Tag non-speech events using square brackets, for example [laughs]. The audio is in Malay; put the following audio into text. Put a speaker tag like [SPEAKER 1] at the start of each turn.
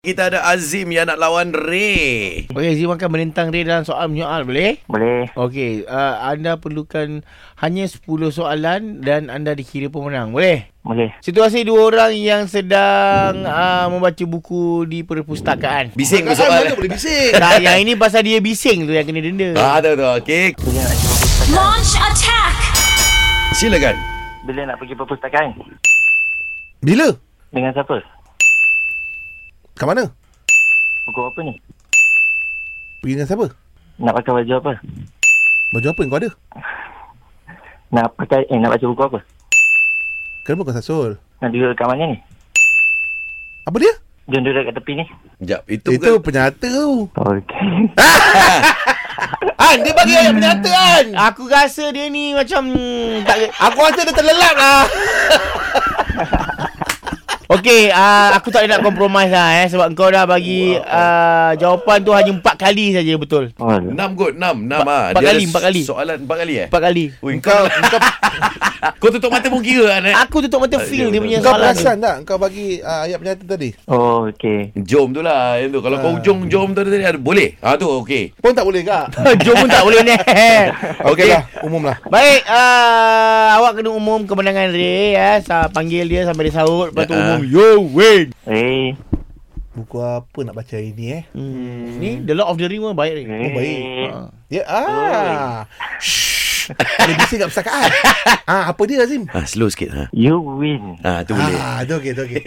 [SPEAKER 1] Kita ada Azim yang nak lawan Ray.
[SPEAKER 2] Okey, Zee akan menentang Ray dalam soal menyoal, boleh?
[SPEAKER 3] Boleh.
[SPEAKER 2] Okey, uh, anda perlukan hanya 10 soalan dan anda dikira pemenang, boleh?
[SPEAKER 3] Boleh.
[SPEAKER 2] Situasi dua orang yang sedang uh, membaca buku di perpustakaan.
[SPEAKER 1] Bising ke soalan?
[SPEAKER 4] boleh
[SPEAKER 1] [laughs]
[SPEAKER 4] bising?
[SPEAKER 2] Tak, yang ini pasal dia bising tu yang kena denda.
[SPEAKER 1] Ah, ada tu. Okey.
[SPEAKER 5] Launch attack!
[SPEAKER 1] Silakan.
[SPEAKER 3] Bila nak pergi perpustakaan?
[SPEAKER 4] Bila?
[SPEAKER 3] Dengan siapa?
[SPEAKER 4] Kat mana?
[SPEAKER 3] Pukul apa ni?
[SPEAKER 4] Pergi dengan siapa?
[SPEAKER 3] Nak pakai baju apa?
[SPEAKER 4] Baju apa yang kau ada?
[SPEAKER 3] Nak pakai eh nak baca buku apa?
[SPEAKER 4] Kenapa kau sasul?
[SPEAKER 3] Nak duduk kat mana ni?
[SPEAKER 4] Apa dia?
[SPEAKER 3] Jom duduk kat tepi ni.
[SPEAKER 1] Sekejap. Itu,
[SPEAKER 4] Itu,
[SPEAKER 1] itu.
[SPEAKER 4] Itu penyata tu.
[SPEAKER 3] [laughs] Okey.
[SPEAKER 4] Han, dia bagi ayat penyata Han.
[SPEAKER 2] Aku rasa dia ni macam mm, tak
[SPEAKER 4] Aku rasa dia terlelap lah.
[SPEAKER 2] [laughs] Okey, uh, aku tak boleh nak kompromis lah eh sebab kau dah bagi uh, jawapan tu hanya 4 kali saja betul.
[SPEAKER 3] Oh,
[SPEAKER 1] Enam kot. Enam. Enam ah.
[SPEAKER 2] empat
[SPEAKER 1] Dia ada
[SPEAKER 2] kali, empat kali.
[SPEAKER 1] Soalan empat kali eh?
[SPEAKER 2] 4 kali.
[SPEAKER 1] Ui, kau, kau, [laughs] kau tutup mata pun kira kan eh?
[SPEAKER 2] Aku tutup mata feel dia punya
[SPEAKER 4] Kau
[SPEAKER 2] soalan. tu.
[SPEAKER 4] perasan tak kau bagi uh, ayat penyata tadi?
[SPEAKER 3] oh okey.
[SPEAKER 1] Jom tu lah. Yang tu. Kalau kau ujung jom tu tadi ada boleh. Ah tu okey.
[SPEAKER 4] Pun tak boleh kak?
[SPEAKER 2] [laughs] Jom pun tak boleh ni.
[SPEAKER 4] [laughs] Okey lah, umum lah.
[SPEAKER 2] Baik, uh, awak kena umum kemenangan Ray ya. Sa- panggil dia sampai dia sahut, lepas tu
[SPEAKER 1] Ya.
[SPEAKER 2] umum you win.
[SPEAKER 3] Eh.
[SPEAKER 4] Buku apa nak baca hari ni eh?
[SPEAKER 2] Hmm. Ni The Lord of the Ring pun baik Ray.
[SPEAKER 4] Oh, baik.
[SPEAKER 3] Eh.
[SPEAKER 4] Ha. Ya, ah. Shh. Dia bising [laughs] kat perpustakaan. ah, apa dia Azim?
[SPEAKER 1] Ah, slow sikit. Ha.
[SPEAKER 3] You win.
[SPEAKER 1] Ah, tu boleh.
[SPEAKER 4] Ah, tu okey, tu okey.